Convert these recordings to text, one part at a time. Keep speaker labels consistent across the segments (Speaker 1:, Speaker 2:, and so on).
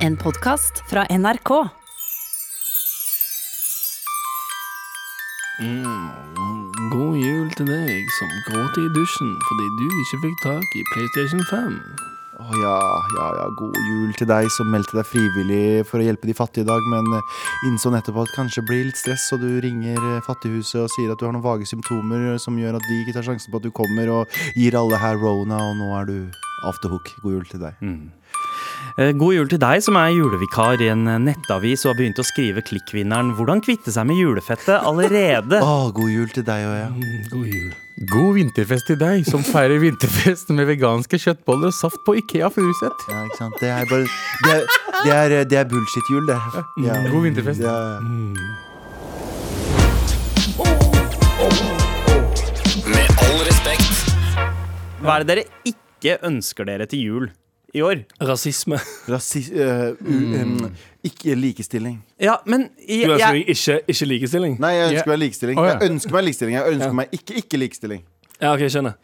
Speaker 1: En podkast fra NRK.
Speaker 2: Mm, God jul til deg som gråter i dusjen fordi du ikke fikk tak i PlayStation 5.
Speaker 3: Å ja, ja, ja. God jul til deg som meldte deg frivillig for å hjelpe de fattige i dag, men eh, innså nettopp at kanskje blir litt stress, og du ringer eh, Fattighuset og sier at du har noen vage symptomer som gjør at de ikke tar sjansen på at du kommer, og gir alle her rona, og nå er du off the hook. God jul til deg.
Speaker 4: Mm.
Speaker 5: Eh, God jul til deg som er julevikar i en eh, nettavis og har begynt å skrive klikkvinneren 'Hvordan kvitte seg med julefettet' allerede.
Speaker 3: Å, god jul til deg òg, ja.
Speaker 2: God jul.
Speaker 4: God vinterfest til deg som feirer vinterfest med veganske kjøttboller og saft på Ikea Furuset.
Speaker 3: ja ikke sant? Det er bare Det er, det er, eh, det er bullshit-jul, det. Ja.
Speaker 4: Mm. God vinterfest.
Speaker 3: Ja, ja.
Speaker 5: Hva er det dere ikke ønsker dere til jul i år?
Speaker 2: Rasisme.
Speaker 3: Rasis... eh,
Speaker 4: Mm.
Speaker 3: u- em, ikke likestilling.
Speaker 5: Ja, men
Speaker 2: Du
Speaker 5: jeg,
Speaker 2: ønsker
Speaker 5: jeg,
Speaker 2: deg ikke, ikke likestilling?
Speaker 3: Nei, jeg
Speaker 4: Ja.
Speaker 3: ønsker meg likestilling.
Speaker 4: Å, ja.
Speaker 3: Jeg ønsker meg likestilling. Jeg ønsker meg ikke ikke likestilling.
Speaker 2: Ja, ok, jeg skjønner.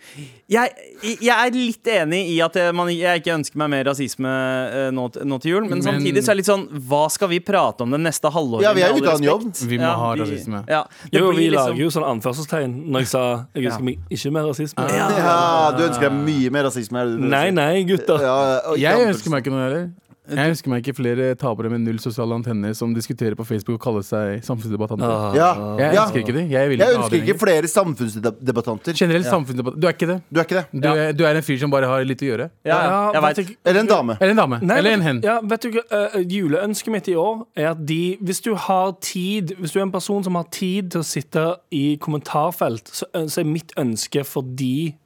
Speaker 5: jeg, jeg er litt enig i at eh, man, jeg ikke ønsker meg mer rasisme eh, nå, t- nå til jul, men,
Speaker 4: Men-
Speaker 5: samtidig så er det litt sånn Hva skal vi prate om det neste halvåret?
Speaker 3: Ja, vi er
Speaker 5: med all
Speaker 3: ute av en
Speaker 5: respekt?
Speaker 3: jobb.
Speaker 4: Vi må
Speaker 5: Ja,
Speaker 4: ha rasisme.
Speaker 5: Ja, det
Speaker 2: Jo,
Speaker 5: blir
Speaker 2: vi
Speaker 5: liksom-
Speaker 2: lager jo sånn anførselstegn når jeg sa jeg ønsker meg ikke mer rasisme.
Speaker 3: Ja, du ønsker deg mye mer rasisme? Er det det du
Speaker 2: Nei,
Speaker 3: sier?
Speaker 2: nei, gutter.
Speaker 3: Ja, og ikke
Speaker 4: Jeg
Speaker 3: anmeldelsen.
Speaker 4: ønsker meg ikke noe heller. Jeg ønsker meg ikke flere tapere med null sosiale antenner som diskuterer på Facebook og kaller seg samfunnsdebattanter.
Speaker 3: ja.
Speaker 4: Jeg
Speaker 3: ja.
Speaker 4: ønsker ikke det. Jeg vil
Speaker 3: Jeg
Speaker 4: ikke ha
Speaker 3: ønsker
Speaker 4: det
Speaker 3: ikke
Speaker 4: lenger.
Speaker 3: flere samfunnsdebattanter.
Speaker 4: Generelt samfunnsdebatt... Du er ikke det.
Speaker 3: Du er ikke det?
Speaker 4: Du er, du er en fyr som bare har litt å gjøre.
Speaker 5: ja, ja, jeg vet.
Speaker 2: ikke.
Speaker 3: Eller en dame.
Speaker 4: Eller en dame.
Speaker 2: Nei,
Speaker 4: Eller
Speaker 2: vet-
Speaker 4: en hen.
Speaker 2: Ja, vet du, hva, eh, juleønsket mitt i år er at de, hvis du har tid Hvis du er en person som har tid til å sitte i kommentarfelt, så, ø- så er mitt ønske for de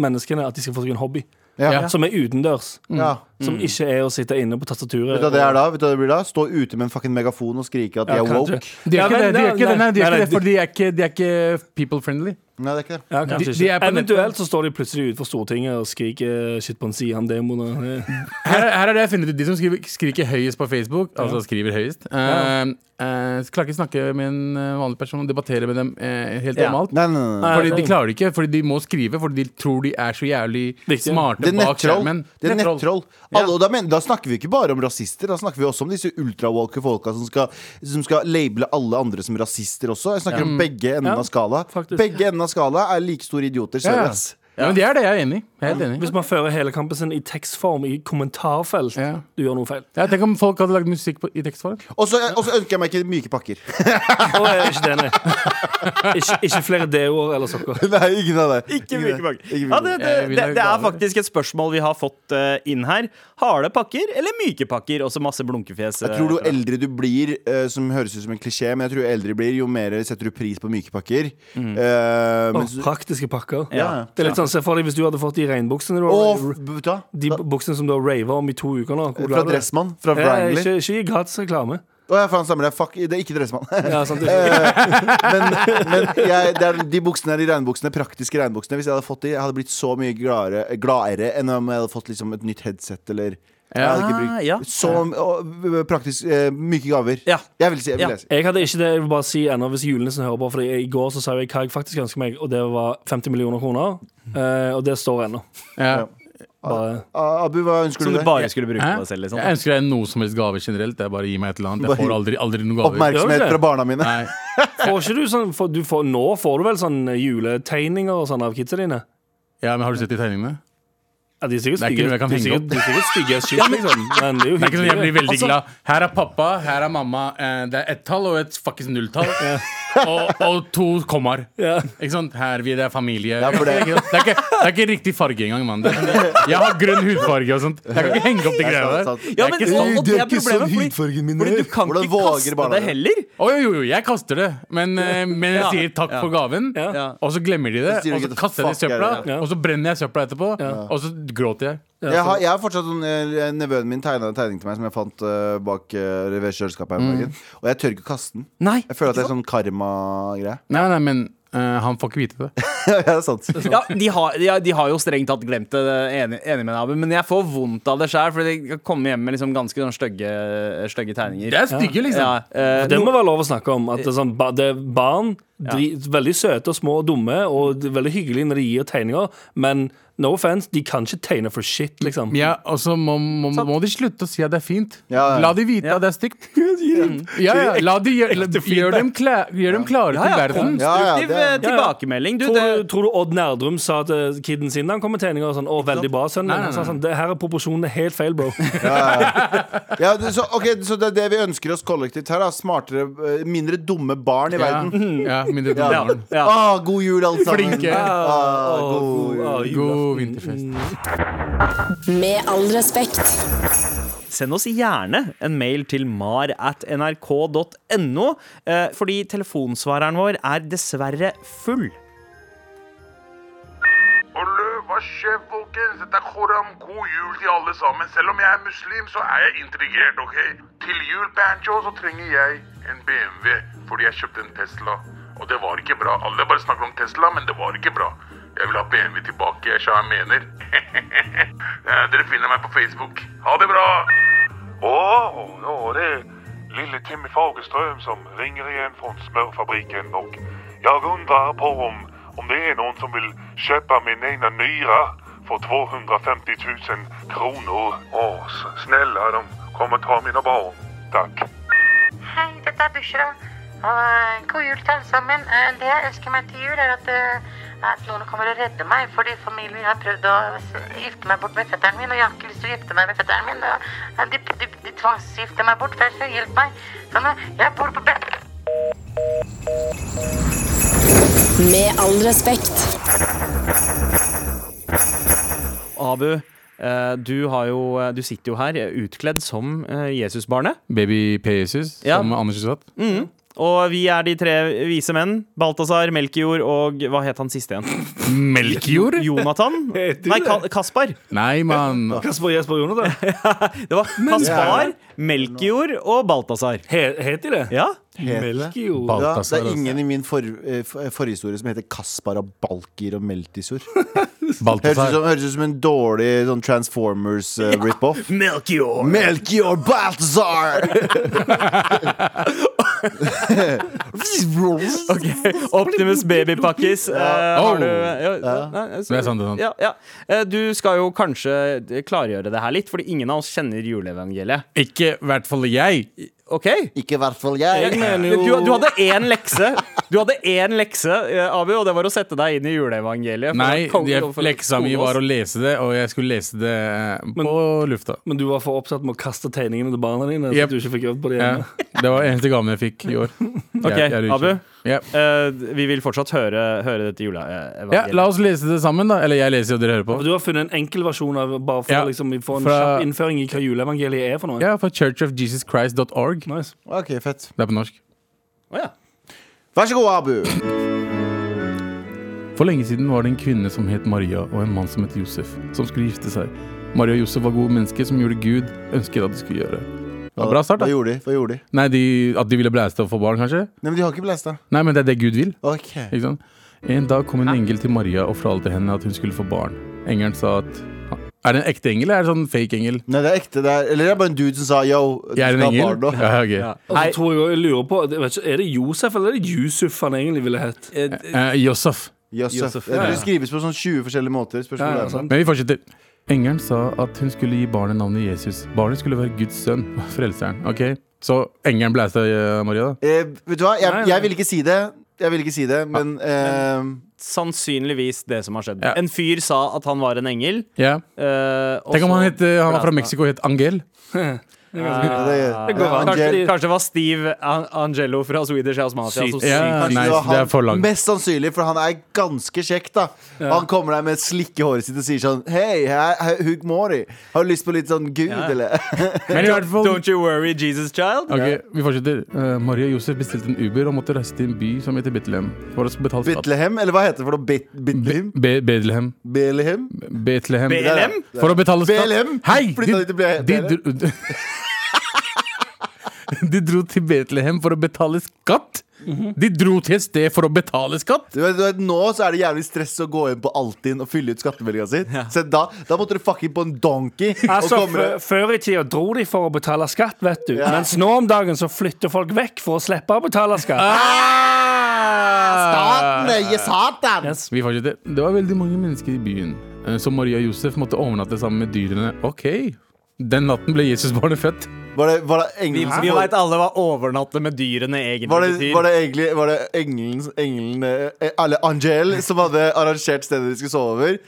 Speaker 2: menneskene at de skal få seg en hobby
Speaker 3: Ja.
Speaker 2: som er utendørs.
Speaker 3: Ja.
Speaker 2: Som ikke er å sitte inne på tastaturet.
Speaker 3: Vet du hva det er da? Vet du hva det blir da? Stå ute med en fucking megafon og skrike at de er woke.
Speaker 4: De er
Speaker 2: Ja,
Speaker 4: ikke det,
Speaker 2: men-
Speaker 4: de er ikke det, nei, de er
Speaker 2: nei, nei,
Speaker 4: ikke det, for de er ikke, de er ikke people friendly.
Speaker 3: Nei, det er ikke det.
Speaker 2: Ja, kanskje
Speaker 4: De-
Speaker 2: ikke.
Speaker 4: de er på
Speaker 2: Eventuelt
Speaker 4: nettet.
Speaker 2: så står de plutselig utenfor Stortinget og skriker eh, shit på en Sian-demoene.
Speaker 4: Her, her er det jeg finner ut De som skriver, skriker høyest på Facebook, altså skriver høyest, eh, eh, klarer ikke snakke med en eh, vanlig person, debattere med dem eh, helt
Speaker 5: Ja.
Speaker 4: normalt.
Speaker 3: Nei, nei, nei, nei.
Speaker 2: Nei,
Speaker 4: Fordi
Speaker 2: det-
Speaker 4: De klarer det ikke, fordi de må skrive, fordi de tror de er så jævlig
Speaker 2: Riktig.
Speaker 4: smarte
Speaker 3: Det er
Speaker 4: bak
Speaker 3: nettroll.
Speaker 4: skjermen.
Speaker 3: Det er nettroll.
Speaker 4: Ja.
Speaker 3: Alle, og da, men, da snakker vi ikke bare om rasister. Da snakker vi også om disse ultrawalke folka som skal, som skal labele alle andre som rasister også. Jeg snakker om begge endene
Speaker 2: Ja,
Speaker 3: av skala.
Speaker 2: faktisk.
Speaker 3: Begge endene av skala er like store idioter.
Speaker 4: Ja,
Speaker 3: Ja.
Speaker 4: ja. Ja, men det er det, jeg er enig. Jeg er helt enig.
Speaker 2: Hvis man fører hele kampusen i tekstform i kommentarfelt,
Speaker 4: Ja.
Speaker 2: du gjør noe feil.
Speaker 4: Ja, tenk om folk hadde lagd musikk på, i tekstform.
Speaker 3: Og så og så ønsker jeg meg ikke myke pakker.
Speaker 2: Å, jeg er ikke det, nei. Ikke, ikke flere deoer eller sokker.
Speaker 3: Nei, ingen av det. Ingen
Speaker 5: Ikke
Speaker 3: av
Speaker 5: mye
Speaker 3: det.
Speaker 5: pakker.
Speaker 3: Ikke myke
Speaker 5: Ja, det, det,
Speaker 4: Jeg vil
Speaker 5: det,
Speaker 4: ha
Speaker 5: det er
Speaker 4: gaver.
Speaker 5: faktisk et spørsmål vi har fått eh, inn her. Harde pakker eller myke pakker? Også masse blunkefjes. eh,
Speaker 3: Jeg tror jo
Speaker 5: fra-
Speaker 3: eldre du blir, eh, som høres ut som en klisjé, men jeg tror jo eldre du blir, jo mer setter du pris på myke pakker.
Speaker 5: Mm.
Speaker 3: Eh,
Speaker 2: Å,
Speaker 3: men så-
Speaker 2: praktiske pakker.
Speaker 3: ja. ja.
Speaker 2: Det er litt sånn, Se for deg hvis du hadde fått de regnbuksene du
Speaker 3: Og
Speaker 2: har-
Speaker 3: f- vet du hva?
Speaker 2: De
Speaker 3: Da-
Speaker 2: buksene som du har rava om i to uker nå. Hvor
Speaker 3: Fra
Speaker 2: glad du er.
Speaker 3: Dressmann.
Speaker 5: Eh,
Speaker 3: Fra
Speaker 2: Ja, ja,
Speaker 3: Wrangley.
Speaker 2: ikke, ikke gi gratis reklame.
Speaker 3: Å, ja, faen, stemmer det. Fuck, det er ikke Dressmann.
Speaker 2: Ja, sant, det
Speaker 3: Eh,
Speaker 2: er ikke-
Speaker 3: men men jeg, det er de buksene, de regnbuksene, praktiske regnbuksene, hvis jeg hadde fått de, jeg hadde blitt så mye gladere, gladere enn om jeg hadde fått liksom, et nytt headset eller jeg hadde ikke
Speaker 5: Ah,
Speaker 3: brukt
Speaker 5: ja.
Speaker 3: Så og, praktisk eh, myke gaver.
Speaker 5: Ja.
Speaker 3: Jeg vil si, jeg vil
Speaker 5: Ja.
Speaker 3: si.
Speaker 2: jeg hadde ikke det, jeg vil bare si ennå hvis julenissen hører på. Fordi I går så sa jeg hva jeg faktisk ønsker meg, og det var 50 millioner kroner. Eh, og det står ennå.
Speaker 4: Ja.
Speaker 2: Bare-
Speaker 3: Ah, Abu, hva ønsker
Speaker 5: Som
Speaker 3: du deg?
Speaker 5: du bare skulle bruke
Speaker 4: Hæ?
Speaker 5: på deg selv. Liksom.
Speaker 4: Jeg ønsker deg noe som helst gave generelt. Det er bare gi meg et eller annet.
Speaker 3: Bare-
Speaker 4: Jeg får aldri, aldri noen gaver.
Speaker 2: Gjør
Speaker 3: Oppmerksomhet
Speaker 2: du det?
Speaker 3: fra barna mine.
Speaker 4: Nei.
Speaker 2: Får ikke du sånn får, du får, Nå får du vel sånn juletegninger og sånn av kidsa dine?
Speaker 4: Ja, men Har du sett de tegningene?
Speaker 2: Ja, de er sikkert
Speaker 4: Det er ikke
Speaker 2: stygge.
Speaker 4: noe jeg kan
Speaker 2: de er
Speaker 4: henge
Speaker 2: sikkert-
Speaker 4: opp.
Speaker 2: de er sikkert stygge as shit, liksom. Men det er jo
Speaker 4: Det er ikke sånn jeg blir
Speaker 2: hyggelig. Altså,
Speaker 4: veldig glad. Her er pappa, her er mamma. eh, Det er ett tall og et fuckings nulltall. og, og to kommaer.
Speaker 2: Ja.
Speaker 4: Ikke sant? Her vi, det er familie.
Speaker 3: Ja, for
Speaker 4: det, er
Speaker 3: det-
Speaker 4: ikke, det, er ikke, det er ikke riktig farge engang, mann. Det er- Jeg har grønn hudfarge og sånt. Jeg kan ikke henge opp de greiene der.
Speaker 3: sant, sant.
Speaker 5: Ja,
Speaker 4: Det er
Speaker 5: men,
Speaker 4: ikke
Speaker 5: og,
Speaker 4: sånn-
Speaker 5: og det er problemet, fordi, fordi du kan
Speaker 3: eh. Hvordan
Speaker 5: ikke
Speaker 3: våger
Speaker 5: kaste
Speaker 3: barna
Speaker 5: det
Speaker 3: det?
Speaker 5: heller.
Speaker 4: Å jo, jo, jo, jeg kaster det, men, eh, men jeg
Speaker 5: Ja.
Speaker 4: sier takk for gaven.
Speaker 2: Ja.
Speaker 4: Og så glemmer de det,
Speaker 3: Så sier du
Speaker 4: og
Speaker 3: ikke
Speaker 4: så kaster jeg det i
Speaker 3: fuck er det,
Speaker 4: søpla.
Speaker 2: ja.
Speaker 4: Og så brenner jeg søpla etterpå, og så gråter jeg.
Speaker 3: Jeg har, jeg har fortsatt sånn, eh, Nevøen min tegna en tegning til meg som jeg fant eh, bak uh, ved kjøleskapet. her om dagen, Og jeg tør ikke kaste den.
Speaker 5: Mm. Nei.
Speaker 3: Jeg føler at det er sånn karma-greie.
Speaker 4: Nei, nei, men eh, han får ikke vite det.
Speaker 3: ja, det er sant.
Speaker 5: Ja, de, har, ja, de har jo strengt tatt glemt det, enig, enig med deg, Abu, men jeg får vondt av det sjøl. For jeg kommer hjem med liksom ganske sånn stygge, stygge tegninger.
Speaker 4: Det er stygge, liksom.
Speaker 5: Ja, eh,
Speaker 2: Det må være lov å snakke om. At det er sånn, ba, det er barn dri, Veldig søte og små og dumme, og det er veldig hyggelig når de gir tegninger, men No offense, de kan ikke tegne for shit, liksom.
Speaker 4: Ja, og så altså, må, må, må de slutte å si at det er fint.
Speaker 3: Ja, ja.
Speaker 4: La de vite at det er stygt. Ja, ja, la de gjør, la, gjør dem, kla, gjør dem klare
Speaker 5: Ja,
Speaker 4: til
Speaker 5: ja,
Speaker 4: verden.
Speaker 5: konstruktiv
Speaker 3: Ja, ja, det-
Speaker 5: eh,
Speaker 3: Ja, ja.
Speaker 5: tilbakemelding. Du, det,
Speaker 2: Tror, du- tror du Odd Nerdrum sa til kiden sin da han kom med tegninger og sånn, å, veldig bra, sønnen
Speaker 4: Nei, nei,
Speaker 2: min? Så han Sånn, det her er proporsjonene helt feil, bro.
Speaker 3: Ja, du, så, ok, så det er det vi ønsker oss kollektivt her. Da. Smartere, eh, mindre dumme barn i
Speaker 4: Ja,
Speaker 3: verden.
Speaker 4: ja, mindre dumme
Speaker 5: ja,
Speaker 4: barn.
Speaker 5: ja.
Speaker 3: Ah, god jul, alle sammen.
Speaker 4: Flinke.
Speaker 3: Ah, god jul.
Speaker 2: Å,
Speaker 4: God vinterfest.
Speaker 1: Med all respekt.
Speaker 5: Send oss gjerne en mail til mar at nrk.no, eh, fordi telefonsvareren vår er dessverre full.
Speaker 6: Olle, hva skjer, folkens? Dette er Khoram. God jul til alle sammen. Selv om jeg er muslim, så er jeg integrert, OK? Til jul, Pancho, så trenger jeg en BMW, fordi jeg kjøpte en Tesla. Og det var ikke bra. Alle bare snakker om Tesla, men det var ikke bra. Jeg vil ha BMW tilbake, jeg sa jeg mener. Eh, Dere finner meg på Facebook. Ha det bra! Å, nå er det lille Timmy Fagerstrøm som ringer igjen fra smørfabrikken, og jeg undrer på om, om det er noen som vil kjøpe min ene nyre for 250 000 kroner. Å, s- snälla, de kommer ta mine barn. Takk.
Speaker 7: Hei, dette er Bushra. Og eh, god jul til alle sammen. Eh, Det jeg ønsker meg til jul, er at, eh, at noen kommer og redder meg. Fordi familien har prøvd å s- gifte meg bort med fetteren min, og jeg har ikke lyst til å gifte meg med fetteren min. Og eh, de, de, de tvangsgifter meg bort, for jeg skal hjelpe meg. Sånn, eh, jeg bor på Be-
Speaker 1: Med all respekt.
Speaker 5: Abu, eh, du, har jo, eh, du sitter jo her eh, utkledd som eh, Jesusbarnet.
Speaker 4: Baby P-Jesus,
Speaker 5: Ja.
Speaker 4: som Anders sa.
Speaker 5: Og vi er de tre vise menn. Balthazar, Melkejord og hva het han siste igjen?
Speaker 4: Melkjord?
Speaker 5: Jonathan?
Speaker 2: Heter
Speaker 5: Nei,
Speaker 2: det?
Speaker 5: Ka- Kaspar.
Speaker 4: Nei, mann.
Speaker 2: Kasper Jesper Jonathan.
Speaker 5: Det var Kaspar, Melkejord og Balthazar.
Speaker 2: He- Het de det?
Speaker 5: Ja?
Speaker 2: Melkejord.
Speaker 4: Balthazar,
Speaker 3: Ja, det er
Speaker 4: altså.
Speaker 3: ingen i min for, eh, for- forhistorie som heter Kaspar av Balkir og Meltisor. Høres ut
Speaker 4: altså. Balthazar.
Speaker 3: som, høres ut som en dårlig sånn Transformers-rip-off.
Speaker 5: Melkejord!
Speaker 3: Melchior Balthazar!
Speaker 5: Ok, Optimus Babypakkis. Uh, har
Speaker 4: Oh.
Speaker 5: du ja, nei, så-
Speaker 4: Det er sant, det er sant.
Speaker 5: Ja, ja. Eh, Du skal jo kanskje klargjøre det her litt, fordi ingen av oss kjenner juleevangeliet.
Speaker 4: Ikke i hvert fall jeg.
Speaker 5: Ok?
Speaker 3: Ikke i hvert fall jeg.
Speaker 5: Du, du hadde én lekse, Du hadde én lekse, eh, Abu, og det var å sette deg inn i juleevangeliet. for
Speaker 4: Nei,
Speaker 5: å kong-
Speaker 4: jeg,
Speaker 5: for å
Speaker 4: leksa mi
Speaker 5: skole oss.
Speaker 4: var å lese det, og jeg skulle lese det eh, på lufta.
Speaker 2: Men du var for opptatt med å kaste tegningene til barna dine. Så
Speaker 4: Yep.
Speaker 2: du ikke fikk øvd på det
Speaker 4: Ja,
Speaker 2: hjemme
Speaker 4: det var eneste gaven jeg fikk i år.
Speaker 5: Ok,
Speaker 4: Jeg- jeg er
Speaker 5: Abu.
Speaker 4: utkjørt. Ja.
Speaker 5: Eh, vi vil fortsatt høre, høre dette juleevangeliet.
Speaker 4: ja, La oss lese det sammen, da. Eller jeg leser, og dere hører
Speaker 2: For
Speaker 4: på.
Speaker 2: Du har funnet en enkel versjon av bare for
Speaker 4: Ja.
Speaker 2: å liksom, få en
Speaker 4: Fra-
Speaker 2: kjapp innføring i hva juleevangeliet er for noe.
Speaker 4: Ja, fra churchofjesuschrist.org. Det
Speaker 2: Nice.
Speaker 3: Ok, fett.
Speaker 4: er på norsk.
Speaker 5: Å, ja.
Speaker 3: Vær så god, Abu.
Speaker 4: For lenge siden var det en kvinne som het Maria, og en mann som het Josef, som skulle gifte seg. Maria og Josef var gode mennesker som gjorde Gud ønsket at de skulle gjøre. Det var bra start,
Speaker 3: Hva
Speaker 4: da.
Speaker 3: gjorde de? Hva gjorde de?
Speaker 4: Nei, de, At de ville blæste og få barn, kanskje?
Speaker 3: Nei, men de har ikke blæsta.
Speaker 4: Nei, men det er det Gud vil.
Speaker 3: Ok.
Speaker 4: Ikke sant? En dag kom en engel til Maria og fortalte henne at hun skulle få barn. Engelen sa at Er det en ekte engel, eller er det sånn fake engel?
Speaker 3: Nei, det er ekte. Det er, eller det er bare en dude som sa yo. Du
Speaker 4: Jeg er
Speaker 3: skal
Speaker 4: en
Speaker 3: ha
Speaker 4: engel.
Speaker 3: barn nå.
Speaker 4: Ja, ok.
Speaker 2: Og så tror jeg, også- jeg lurer på, jeg vet ikke, Er det Josef eller er det Yusuf han egentlig ville hett?
Speaker 4: Eh, Josef.
Speaker 3: Josef.
Speaker 2: Josef,
Speaker 3: Jeg tror
Speaker 2: ja,
Speaker 3: det skrives på sånn 20 forskjellige måter. Spørsmålet
Speaker 2: Ja,
Speaker 3: er sånn.
Speaker 2: sant?
Speaker 4: Men vi fortsetter. Engelen sa at hun skulle gi barnet navnet Jesus. Barnet skulle være Guds sønn, frelseren. Ok, Så engelen blæsta eh, Maria, da?
Speaker 3: Eh, vet du hva,
Speaker 2: Nei,
Speaker 3: jeg,
Speaker 2: nei.
Speaker 3: jeg vil ikke si det. Jeg vil ikke si det, men eh,
Speaker 5: Sannsynligvis det som har skjedd.
Speaker 4: Ja.
Speaker 5: En fyr sa at han var en engel.
Speaker 4: Ja.
Speaker 5: eh, og
Speaker 4: Tenk om
Speaker 5: så-
Speaker 4: han, het, eh, han var fra Mexico og het Angel.
Speaker 3: det-
Speaker 2: det går an.
Speaker 3: Angel-
Speaker 5: Kanskje, kanskje det var Steve An- Angelo fra Swedish House Mafia. som
Speaker 2: Sykt.
Speaker 4: Ja,
Speaker 5: sykt-
Speaker 4: nei,
Speaker 3: det var
Speaker 4: det
Speaker 3: han.
Speaker 4: er for langt.
Speaker 3: Mest sannsynlig, for han er ganske kjekk, da. Han kommer der med et slikk i håret sitt og sier sånn Hei, jeg er Hugh Mori. Har du lyst på litt sånn Gud, eller?
Speaker 4: Men i hvert fall
Speaker 5: Don't you worry, Jesus child.
Speaker 4: Ok, vi fortsetter. Eh, Maria og Josef bestilte en Uber og måtte reise til en by som heter Betlehem. For å betale skatt.
Speaker 3: Betlehem, eller hva heter det for noe? Bet- Betlehem?
Speaker 4: Be Betlehem.
Speaker 3: Betlehem?
Speaker 4: Betlehem.
Speaker 5: BLM?
Speaker 4: For å betale skatt.
Speaker 3: BLM?
Speaker 4: Hei!
Speaker 3: Flytta de til Ble-
Speaker 4: de, dro, de dro til Betlehem for å betale skatt. De dro til et sted for å betale skatt.
Speaker 3: Du vet, du vet, nå så er det jævlig stress å gå inn på Altinn og fylle ut skattemeldinga si. Så da, da måtte du fucking på en donkey. og
Speaker 2: Altså,
Speaker 3: komme-
Speaker 2: fø- Før i tida dro de for å betale
Speaker 4: Ah.
Speaker 2: skatt, vet du. Mens nå om dagen så flytter folk vekk for å slippe å betale skatt.
Speaker 3: Ah!
Speaker 4: Staten
Speaker 8: Nøye satan!
Speaker 2: Yes.
Speaker 4: Vi fortsetter. Det var veldig mange mennesker i byen, eh, så Maria og Josef måtte overnatte sammen med dyrene. Ok. Den natten ble Jesusbarnet født.
Speaker 3: Var det, var det engelen
Speaker 5: Vi
Speaker 3: som
Speaker 5: veit alle hva overnatte med dyrene egentlig
Speaker 3: var det,
Speaker 5: betyr.
Speaker 3: var det egentlig var det engelen, engelen eh, Eller Angel som hadde arrangert stedet de skulle sove over?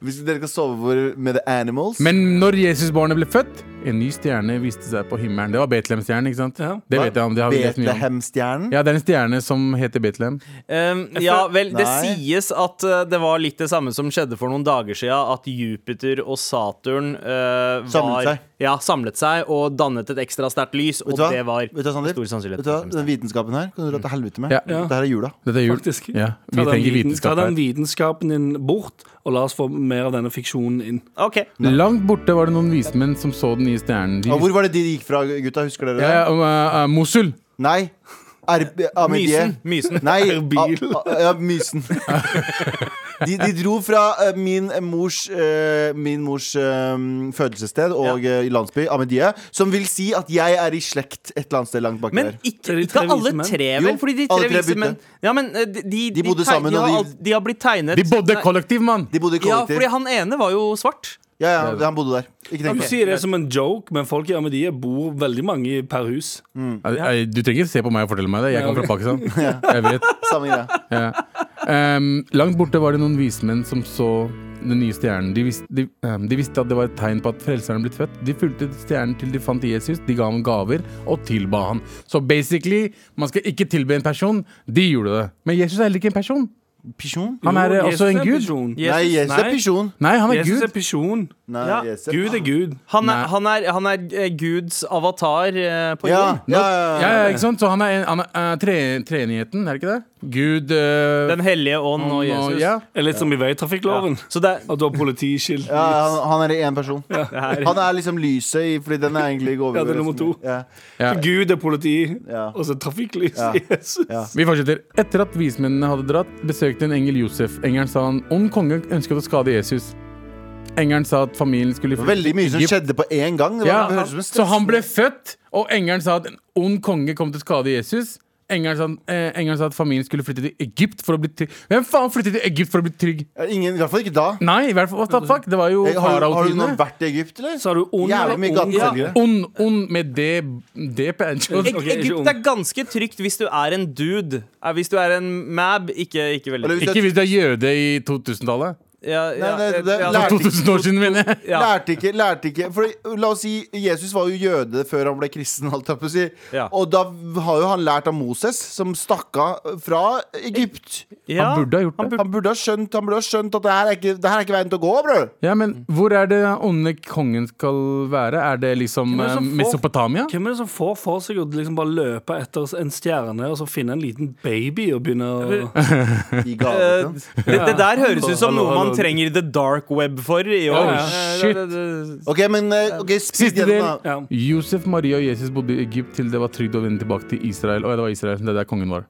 Speaker 3: Hvis dere skal sove over med The Animals
Speaker 4: Men når Jesusbarnet ble født, en ny stjerne viste seg på himmelen. Det var Betlehemstjernen, ikke sant?
Speaker 2: Ja.
Speaker 4: Det vet jeg om. Det har vi lest mye om.
Speaker 3: Betlehem-stjernen?
Speaker 4: Ja, det er en stjerne som heter Betlehem.
Speaker 5: Um, ja vel, det
Speaker 3: Nei.
Speaker 5: sies at uh, det var litt det samme som skjedde for noen dager siden. At Jupiter og Saturn uh, var,
Speaker 3: Samlet seg.
Speaker 5: Ja, samlet seg og dannet et ekstra sterkt lys. Og
Speaker 3: Vet du hva?
Speaker 5: det var
Speaker 3: Vet du hva, Sander?
Speaker 5: stor sannsynlighet.
Speaker 3: Vet du hva? Den vitenskapen her kan du dra til helvete med.
Speaker 4: Ja.
Speaker 2: Ja.
Speaker 3: Dette her er jula.
Speaker 4: Dette er jul.
Speaker 2: Faktisk.
Speaker 4: Ja, vi
Speaker 2: Ta den
Speaker 4: trenger
Speaker 2: viten- Ta
Speaker 4: vitenskap her.
Speaker 2: den vitenskapen din bort, og la oss få mer av denne fiksjonen inn.
Speaker 5: Ok,
Speaker 4: Langt borte var det noen vismenn som så den nye stjernen. De
Speaker 3: Og hvor var det de gikk fra, gutta? Husker dere
Speaker 4: ja,
Speaker 3: det?
Speaker 4: ja, og, eh, eh, Mosul!
Speaker 3: Nei. Arb Amidie.
Speaker 5: Mysen. mysen.
Speaker 3: Nei, a, a, ja, Mysen. De, de dro fra eh, min mors, eh, min mors eh, fødelsessted og eh, landsby, Amedie, som vil si at jeg er i slekt et eller annet sted langt bak
Speaker 5: Men
Speaker 3: der.
Speaker 5: ikke,
Speaker 2: Er de
Speaker 5: ikke
Speaker 2: tre
Speaker 5: alle
Speaker 2: vise menn?
Speaker 5: tre, vel?
Speaker 3: Jo,
Speaker 5: Fordi de
Speaker 3: alle
Speaker 5: tre
Speaker 3: tre
Speaker 5: vise menn Ja, men uh, de, de,
Speaker 3: bodde
Speaker 5: teg-
Speaker 3: sammen,
Speaker 5: de
Speaker 3: og
Speaker 5: har,
Speaker 3: de-
Speaker 5: alt- de har blitt tegnet
Speaker 4: De bodde
Speaker 5: Nei,
Speaker 4: kollektiv, mann!
Speaker 3: De bodde i
Speaker 5: Ja, fordi
Speaker 3: kollektiv.
Speaker 5: han ene var jo svart.
Speaker 3: Ja, ja, han bodde der. Ikke
Speaker 2: Du
Speaker 3: tenk på det.
Speaker 2: sier det som en joke, men folk i Amedie bor veldig mange per hus.
Speaker 4: Eh, eh, Du trenger ikke se på meg og fortelle meg det. Jeg kommer fra Pakistan. Jeg vet.
Speaker 3: Samme greia.
Speaker 4: Ja. Ehm, langt borte var det noen vismenn som så den nye stjernen. De, vis, de, ehm, de visste at det var et tegn på at frelseren er blitt født. De fulgte stjernen til de fant Jesus, de ga ham gaver og tilba han. Så basically, man skal ikke tilbe en person. De gjorde det. Men Jesus er heller ikke en person.
Speaker 3: Pisjon?
Speaker 4: Han er eh,
Speaker 2: Jo,
Speaker 4: også
Speaker 2: Jesus
Speaker 4: en
Speaker 2: er
Speaker 4: gud.
Speaker 2: pisjon.
Speaker 5: Jesus-
Speaker 3: Nei, Jesus er
Speaker 2: nei.
Speaker 3: pisjon.
Speaker 4: Nei, han er
Speaker 2: Jesus er
Speaker 4: gud.
Speaker 2: pisjon.
Speaker 3: Nei,
Speaker 5: Ja.
Speaker 3: Jesus er-
Speaker 2: Gud er gud.
Speaker 5: Han er,
Speaker 4: Nei.
Speaker 5: han er, han er eh, Guds avatar eh, på
Speaker 3: Ja,
Speaker 5: jorden.
Speaker 3: ja, ja,
Speaker 4: Ja,
Speaker 3: ja.
Speaker 4: ja, ikke sant? Så han er, en- han er eh, tre, treenigheten, er det ikke det? Gud eh,
Speaker 5: Den hellige ånd og Jesus.
Speaker 4: ja.
Speaker 2: Det er Litt som i veitrafikkloven.
Speaker 5: Så det er
Speaker 2: At du har politiskilt.
Speaker 3: Ja, han, han er i én person. Han er liksom lyset i Fordi den er egentlig over.
Speaker 2: Ja, det er nummer to.
Speaker 3: Ja.
Speaker 4: Ja.
Speaker 2: Gud er politi,
Speaker 3: Ja.
Speaker 2: og så trafikklys.
Speaker 3: Ja.
Speaker 2: Jesus.
Speaker 3: Ja.
Speaker 4: Vi fortsetter. Etter at vismennene hadde dratt, besøkte en engel Josef. Engelen sa han ond konge ønsket å skade Jesus. Engelen sa at familien skulle
Speaker 3: Det var Veldig mye som
Speaker 4: Egypt.
Speaker 3: skjedde på én gang. Det var,
Speaker 4: Ja,
Speaker 3: det
Speaker 4: han,
Speaker 3: høres ut som en
Speaker 4: så han
Speaker 3: stressende-
Speaker 4: ble født, og engelen sa at en ond konge kom til å skade Jesus. Engelen sa, eh, engelen sa at familien skulle flytte til Egypt for å bli trygg. Hvem faen flyttet til Egypt for å bli trygg?
Speaker 3: Ingen, I hvert fall ikke da.
Speaker 4: Nei, i hvert fall, what the fuck? Det var jo
Speaker 3: Hey, har, har du noen
Speaker 4: farao-tidene.
Speaker 3: vært i Egypt, eller?
Speaker 2: Så har du ond
Speaker 3: Jævlig mye
Speaker 2: ond-
Speaker 3: gateselgere.
Speaker 4: Ond, ond med det, det Pancho.
Speaker 5: Eg-
Speaker 2: Ok, ikke
Speaker 5: Egypt er
Speaker 2: ung.
Speaker 5: ganske trygt hvis du er en dude. Eh, Hvis du er en mab, ikke, ikke veldig
Speaker 3: Eller hvis-
Speaker 4: Ikke hvis du er jøde i 2000-tallet.
Speaker 5: ja, ja,
Speaker 3: Nei, det- det-
Speaker 5: ja,
Speaker 3: lær-
Speaker 4: 2000 år siden, mener jeg.
Speaker 5: ja.
Speaker 3: Lærte ikke, lærte ikke Fordi, La oss si Jesus var jo jøde før han ble kristen. Alt jeg på å si.
Speaker 5: Ja.
Speaker 3: Og da har jo han lært av Moses, som stakk av fra Egypt.
Speaker 5: ja.
Speaker 4: Han burde ha gjort det.
Speaker 3: Han burde ha skjønt, han burde ha skjønt at det her, er ikke, det her er ikke veien til å gå, bro.
Speaker 4: Ja, men hvor er det den onde kongen skal være? Er det liksom
Speaker 2: Hvem er det
Speaker 4: eh,
Speaker 2: som får-
Speaker 4: Mesopotamia?
Speaker 2: Hvem er det som får for seg å liksom bare løpe etter en stjerne og så finne en liten baby og begynne å
Speaker 3: I gaven.
Speaker 5: Eh, det, det der høres ut som
Speaker 2: Hallo,
Speaker 5: noe man
Speaker 2: hallo.
Speaker 5: trenger the dark web for i år.
Speaker 4: Oh,
Speaker 5: Eh,
Speaker 4: shit.
Speaker 5: det- det-
Speaker 3: OK, men eh, ok, speed
Speaker 4: Siste del.
Speaker 3: gjennom, da.
Speaker 2: ja.
Speaker 4: Josef, Maria og Jesus bodde i Egypt til det var trygt å vende tilbake til Israel. Å ja, det var Israel. Det er der kongen var.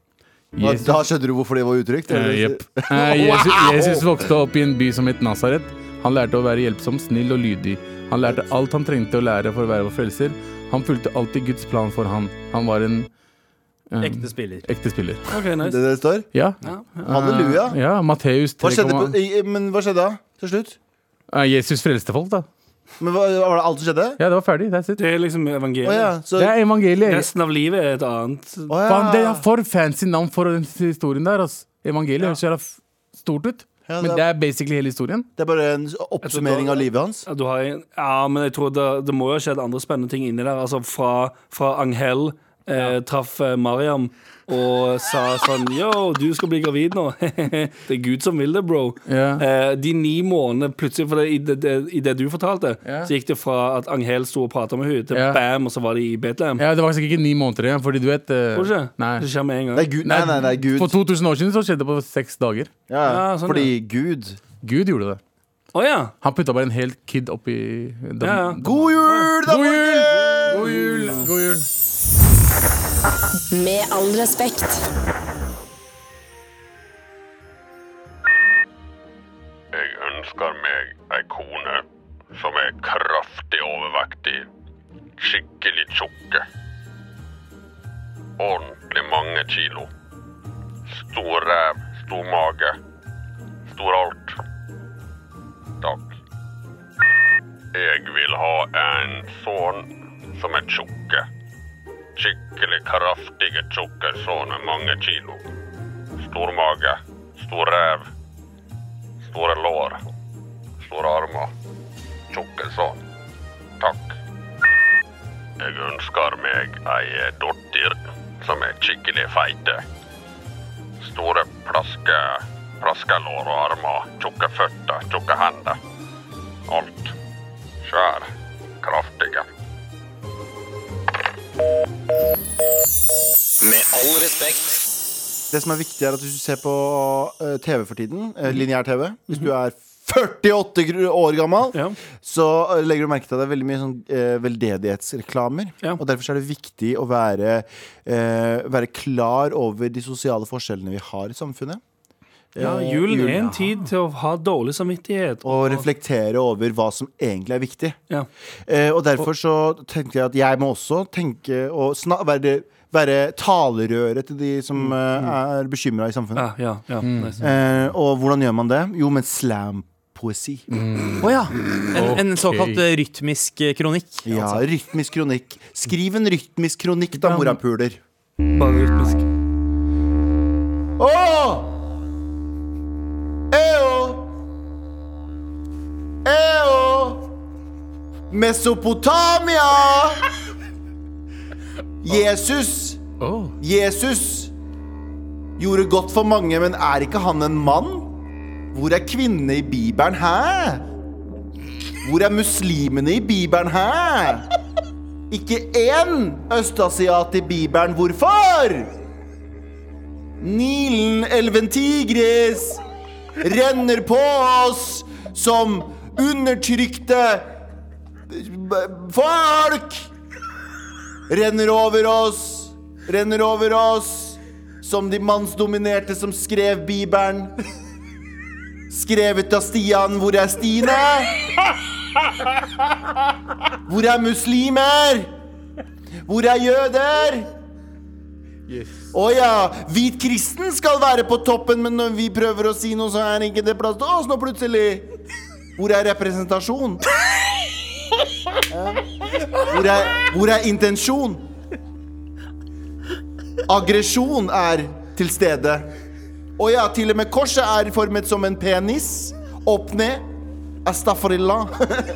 Speaker 3: Ja,
Speaker 4: Jesus,
Speaker 3: Da skjønner du hvorfor det var utrygt?
Speaker 4: Eh, jepp. Eh, Jesus, Jesus vokste opp i en by som het Nazaret. Han lærte å være hjelpsom, snill og lydig. Han lærte alt han trengte å lære for å være vår frelser. Han fulgte alltid Guds plan for han. Han var en eh,
Speaker 5: Ekte spiller.
Speaker 4: ekte spiller.
Speaker 2: OK,
Speaker 3: Det
Speaker 2: nice.
Speaker 3: er det det står?
Speaker 4: Ja.
Speaker 3: Halleluja.
Speaker 4: Eh, Ja, Matteus
Speaker 3: Hva skjedde, på,
Speaker 4: 3,1.
Speaker 3: i, i- men hva skjedde da? Til slutt?
Speaker 4: Eh, Jesus frelste folk, da.
Speaker 3: Men hva, Var det alt som skjedde?
Speaker 4: Ja, det var ferdig. That's it.
Speaker 2: Det er liksom evangeliet.
Speaker 3: Å ja, så,
Speaker 4: Det er evangeliet.
Speaker 2: Resten av livet er et annet.
Speaker 3: å ja.
Speaker 4: Faen, det er for fancy navn for den historien der. Ass. Evangeliet høres jævla f- stort ut,
Speaker 3: Ja, det
Speaker 4: men
Speaker 3: er-
Speaker 4: det er basically hele historien.
Speaker 3: Det er bare en oppsummering av livet hans.
Speaker 2: Ja, Du har en, ja, men jeg tror det, det må jo ha skjedd andre spennende ting inni der. Altså fra, fra Angel eh, traff eh, Mariam og sa sånn Yo, du skal bli gravid nå. det er Gud som vil det, bro.
Speaker 4: Ja.
Speaker 2: Eh, de ni månedene plutselig, for det, i, det, det, i det du fortalte,
Speaker 4: Ja.
Speaker 2: så gikk det fra at Angel sto og prata med henne, til
Speaker 4: Ja.
Speaker 2: bam, og så var de i Betlehem.
Speaker 4: Ja, Det var sikkert ikke ni måneder igjen, fordi du vet eh,
Speaker 2: Tror du ikke?
Speaker 4: Nei.
Speaker 2: Det skjer med en
Speaker 3: Nei,
Speaker 2: gang.
Speaker 3: Gud, nei, nei, nei, Gud.
Speaker 4: For 2000 år siden så skjedde det på seks dager.
Speaker 3: Ja,
Speaker 2: Ja, sånn,
Speaker 3: fordi Gud
Speaker 4: Gud gjorde det.
Speaker 2: Å ja.
Speaker 4: Han putta bare en hel kid opp i dam-
Speaker 2: Ja, ja.
Speaker 3: God jul, da,
Speaker 4: God jul!
Speaker 3: folkens!
Speaker 4: God jul! God jul!
Speaker 1: Med all respekt.
Speaker 6: Jeg ønsker meg ei kone som er kraftig overvektig, skikkelig tjukke, ordentlig mange kilo, Stor, eh, stor mage. Stor alt. Takk. Jeg vil ha en sønn som er tjukke. Skikkelig kraftige, tjukke sønn med mange kilo. Stor mage. Stor ræv. Store lår. Store armer. Tjukke sønn. Takk. Jeg ønsker meg ei dotter som er skikkelig feite. Store plaske, plaskelår og armer, tjukke føtter, tjukke hender. Alt. Skjær. Kraftige.
Speaker 8: Med all respekt.
Speaker 3: Det som er viktig, er at hvis du ser på eh, TV for tiden, eh, lineær TV Hvis du er 48 gr- år gammel,
Speaker 2: Ja.
Speaker 3: så eh, legger du merke til at det er veldig mye sånn, eh, veldedighetsreklamer.
Speaker 2: Ja.
Speaker 3: Og derfor så er det viktig å være, eh, være klar over de sosiale forskjellene vi har i samfunnet.
Speaker 2: Ja,
Speaker 3: Eh,
Speaker 2: julen er
Speaker 3: julen.
Speaker 2: en tid til å ha dårlig samvittighet.
Speaker 3: Og reflektere over hva som egentlig er viktig.
Speaker 2: Ja.
Speaker 3: Eh, og derfor så tenkte jeg at jeg må også tenke og sna være, være talerøret til de som eh, er bekymra i samfunnet.
Speaker 2: Ja, ja, Mm. ja. nice.
Speaker 3: Eh, og hvordan gjør man det? Jo, med slampoesi.
Speaker 5: Å ja. En, en såkalt eh, rytmisk eh, kronikk.
Speaker 3: Ja, rytmisk kronikk. Skriv en rytmisk kronikk, da, morapuler.
Speaker 2: Bare rytmisk.
Speaker 3: Åh! Eo! Eo! Mesopotamia! Jesus!
Speaker 4: Åh,
Speaker 3: Jesus gjorde godt for mange, men er ikke han en mann? Hvor er kvinnene i Bibelen, hæ? Hvor er muslimene i Bibelen, hæ? Ikke én østasiat i Bibelen, hvorfor? Nilen, elven Tigris, renner på oss som undertrykte b- folk! renner over oss, renner over oss, som de mannsdominerte som skrev Bibelen. Skrevet av Stian, hvor er Stine? Hvor er muslimer? Hvor er jøder? Å ja, hvit kristen skal være på toppen, men når vi prøver å si noe, så er ikke det plass til oss nå plutselig. Hvor er representasjon? Hvor er, hvor er intensjon? Aggresjon er til stede. Å ja, til og med korset er formet som en penis. Opp ned. Astafrillah.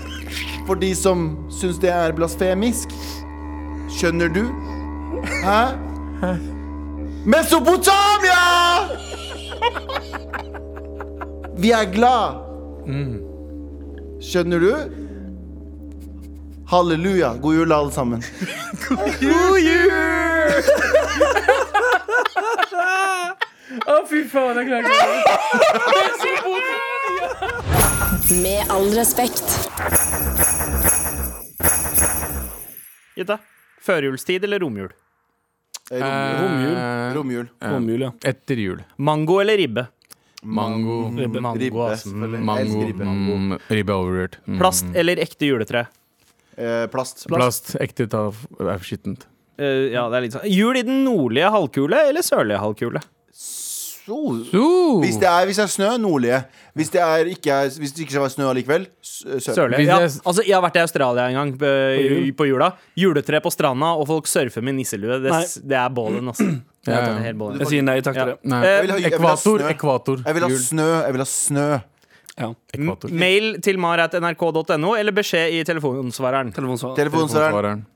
Speaker 3: For de som syns det er blasfemisk. Skjønner du? Hæ? Mesopotamia! Vi er glad. Skjønner du? Halleluja. God jul, alle sammen.
Speaker 1: Med all respekt.
Speaker 5: Gitte. Førjulstid eller romjul?
Speaker 3: Eh,
Speaker 4: Eh,
Speaker 3: Romjul. Romjul.
Speaker 2: Romjul, ja.
Speaker 4: Etter jul.
Speaker 5: Mango eller ribbe?
Speaker 4: Mango.
Speaker 2: Ribbe.
Speaker 3: Ribbe,
Speaker 5: ass.
Speaker 3: selvfølgelig. Jeg
Speaker 4: Mango.
Speaker 3: elsker ribbe.
Speaker 4: Mm, ribbe er overrated. Mm.
Speaker 5: Plast eller ekte juletre?
Speaker 3: Eh, plast.
Speaker 4: Plast. Ekte tav er skittent.
Speaker 5: Eh, ja, det er litt sånn Jul i den nordlige halvkule eller sørlige halvkule?
Speaker 3: So.
Speaker 4: Uh,
Speaker 3: Hvis det, er, hvis det er snø, nordlige. Hvis det er ikke, er, hvis det ikke skal være snø allikevel, s- eh, sørlige.
Speaker 5: Sørlige.
Speaker 4: Hvis
Speaker 5: Ja,
Speaker 4: det er-
Speaker 5: altså, jeg har vært i Australia en gang på, på jula. Juletre på stranda, og folk surfer med nisselue. Det, s- det er bålen, altså. Det
Speaker 4: Ja,
Speaker 5: er
Speaker 4: ja.
Speaker 5: den helt bålen.
Speaker 2: Jeg sier nei takk til
Speaker 5: Ja.
Speaker 2: det.
Speaker 4: Nei.
Speaker 5: Eh,
Speaker 3: vil ha- jeg vil ha
Speaker 4: ekvator.
Speaker 3: snø.
Speaker 4: Ekvator.
Speaker 3: Jeg vil ha
Speaker 4: Jul.
Speaker 3: snø. Jeg vil ha snø.
Speaker 2: Ja.
Speaker 4: Ekvator.
Speaker 5: Mail til mar.nrk.no, eller beskjed i telefonsvareren.
Speaker 2: Telefonsvar.
Speaker 3: Telefonsvareren.
Speaker 4: Telefonsvareren.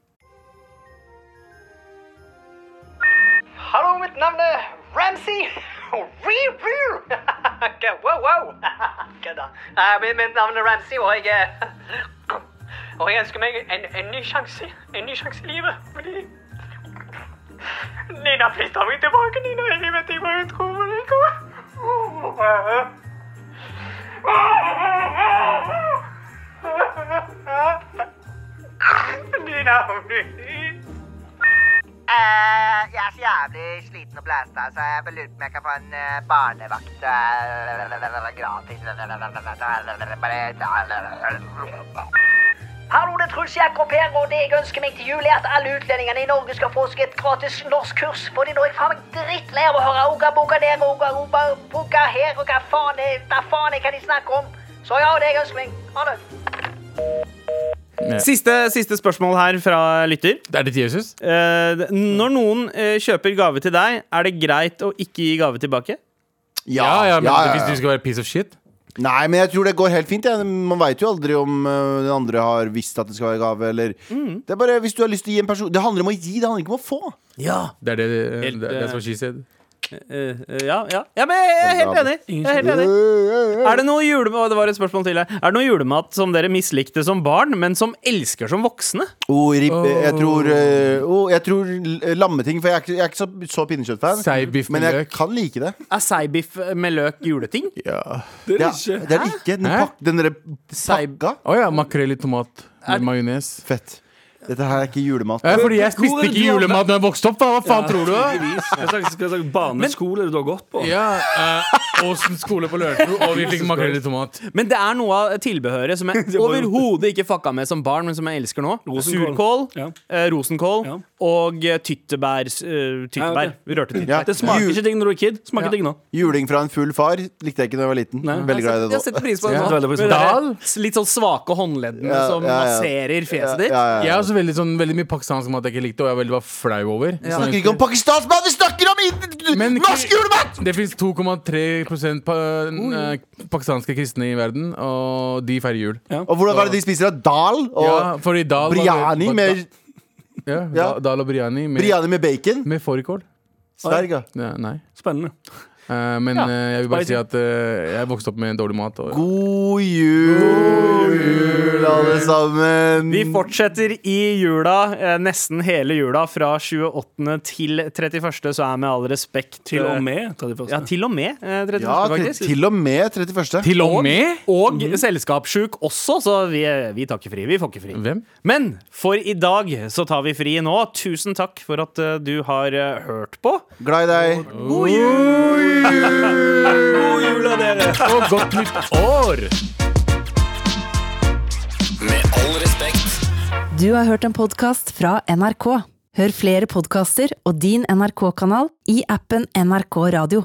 Speaker 9: Hallo, mitt navn er Ramsey. Rear, rear. Wow, wow. Kødda. Eh, mi- Mitt navn er Ramsey, og jeg eh, Og jeg ønsker meg en, en ny sjanse. En ny sjanse i livet, fordi Nina, please ta meg tilbake, Nina. Jeg vet ikke hva hun tror, men jeg kommer Nina, please.
Speaker 10: Eh, jeg er så jævlig sliten og blæsta, så jeg bare lurer på om jeg kan få en eh, barnevakt eh, gratis. Bare ta-
Speaker 7: Hallo, det er Truls Jakob her, og det jeg ønsker meg til jul, er at alle utlendingene i Norge skal få seg et gratis norskkurs. Fordi nå er jeg faen meg drittlei av å høre oga-boga der, oga-oga-boga her, og hva faen er hva faen er hva de snakker om. Så ja, det jeg ønsker meg. Ha det.
Speaker 5: Siste, siste spørsmål her fra lytter.
Speaker 4: Det er ditt Jesus?
Speaker 5: Eh, når noen eh, kjøper gave til deg, er det greit å ikke gi gave tilbake?
Speaker 4: Ja, ja, men Hvis du skal være piece of shit
Speaker 3: Nei, men jeg tror det går helt fint. Ja. Man veit jo aldri om øh, den andre har visst at det skal være gave, eller
Speaker 4: Mm.
Speaker 3: Det er bare hvis du har lyst til å gi en person Det handler om å gi, det handler ikke om å få.
Speaker 5: Ja.
Speaker 4: Det er det,
Speaker 5: Helt,
Speaker 4: det, det
Speaker 5: eh,
Speaker 4: er som she said.
Speaker 5: ja, ja. ja men jeg er helt enig. Jeg er helt enig. Er det noe julemat, det var et spørsmål til her. Er det noe julemat som dere mislikte som barn, men som elsker som voksne?
Speaker 3: Oh, ribbe, jeg tror, øh, oh, jeg tror l- lammeting, for jeg er ikke, jeg er ikke så, så pinnekjøttfan.
Speaker 4: Seibiff med
Speaker 3: Men jeg
Speaker 4: løk.
Speaker 3: kan like det.
Speaker 5: Er seibiff med løk juleting?
Speaker 3: Det er
Speaker 2: ikke.
Speaker 3: Det er ikke den,
Speaker 4: Hæ?
Speaker 3: pak, den der
Speaker 5: Seib-
Speaker 3: pakka.
Speaker 4: Å ja, makrell i tomat med majones.
Speaker 3: Fett. Dette her er ikke julemat.
Speaker 4: Ja, fordi
Speaker 2: Hvor er
Speaker 4: jeg spiste
Speaker 2: det
Speaker 4: ikke
Speaker 2: du har-
Speaker 4: julemat da jeg vokste opp, da! Hva faen tror du? da?
Speaker 2: Hva slags, hva slags barneskole er det du har gått på?
Speaker 4: Ja, eh, Åsen skole på Lørenskog, og vi fikk makrell i tomat.
Speaker 5: Men det er noe av tilbehøret som jeg overhodet ikke fucka med som barn, men som jeg elsker nå. Surkål,
Speaker 2: Rosenkål. Ja.
Speaker 5: eh, rosenkål
Speaker 2: Ja.
Speaker 5: og eh, tyttebær. eh, tyttebær. Rørte tyttebær.
Speaker 3: Ja.
Speaker 2: Det smaker
Speaker 3: Jul-
Speaker 2: ikke ting når du er kid. Smaker ting nå.
Speaker 3: Juling fra en full far likte jeg ikke da jeg var liten. Veldig glad i
Speaker 5: Jeg
Speaker 3: det nå.
Speaker 5: har sett pris på det
Speaker 2: Ja.
Speaker 5: nå.
Speaker 2: Veldig pris på
Speaker 5: Med
Speaker 2: det.
Speaker 5: de der Litt sånn svake håndleddene
Speaker 3: Ja, ja,
Speaker 5: som
Speaker 3: ja.
Speaker 5: masserer fjeset ditt.
Speaker 3: Ja, ja,
Speaker 4: Jeg
Speaker 3: ja.
Speaker 4: er også veldig, sånn, veldig mye pakistansk mat jeg ikke likte, og jeg var veldig var flau over. Sånn
Speaker 3: Vi snakker ikke om pakistansk mat, vi snakker om i-
Speaker 4: Men-
Speaker 3: norsk julemat!
Speaker 4: Det fins 2,3 pa eh, pakistanske kristne i verden, og de feirer jul.
Speaker 3: Og hvordan var det de spiser av dal? Og
Speaker 4: Ja, fordi dal var-
Speaker 3: briani,
Speaker 4: var-
Speaker 3: med,
Speaker 4: Ja,
Speaker 3: Ja.
Speaker 4: da- Dal og biryani med,
Speaker 3: briani med bacon?
Speaker 4: med fårikål.
Speaker 3: Sverg, ja.
Speaker 4: Ja, nei.
Speaker 2: Spennende.
Speaker 4: Eh, men eh, jeg vil bare si at eh, jeg vokste opp med dårlig mat. Og,
Speaker 3: God jul, alle sammen.
Speaker 5: Vi fortsetter i jula, eh, nesten hele jula, fra 28. til 31., så er med all respekt
Speaker 2: Til og
Speaker 5: eh,
Speaker 2: med 31.
Speaker 5: Ja, til og med eh, 31.,
Speaker 3: Ja, til,
Speaker 5: faktisk.
Speaker 3: til og med 31.
Speaker 4: til og med?
Speaker 5: Og selskapssjuk også, så vi, vi tar ikke fri. Vi får ikke fri.
Speaker 4: Hvem?
Speaker 5: Men for i dag så tar vi fri nå. Tusen takk for at eh, du har eh, hørt på.
Speaker 3: Glad i deg.
Speaker 5: God jul av dere!
Speaker 4: Og godt nytt år!
Speaker 1: Du har hørt en podkast fra NRK. Hør flere podkaster og din NRK-kanal i appen NRK Radio.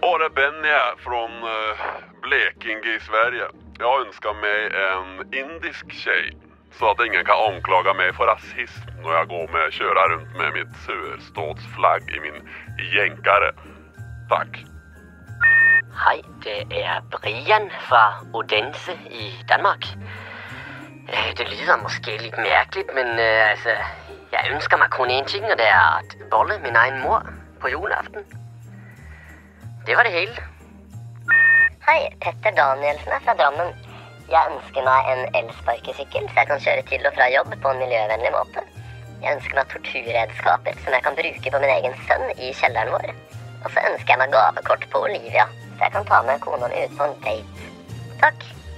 Speaker 6: Ja, det är Benny här från eh, Blekinge i Sverige. Jag önskar mig en indisk tjej så att ingen kan anklaga mig för rasism när jag går med köra runt med mitt surstatsflagg i min jänkare. Tack.
Speaker 7: Hei, det er Brian fra Odense i Danmark. Eh, Det lyder måske lidt mærkeligt, men øh, altså, jeg ønsker mig kun én ting, og det er at bolle min egen mor på juleaften. Det var det hele. Hei, Petter Danielsen er fra Drammen. Jeg ønsker meg en elsparkesykkel, så jeg kan kjøre til og fra jobb på en miljøvennlig måte. Jeg ønsker meg torturredskaper som jeg kan bruke på min egen sønn i kjelleren vår. Og så ønsker jeg meg gavekort på Olivia, så jeg kan ta med kona mi ut på en date. Takk.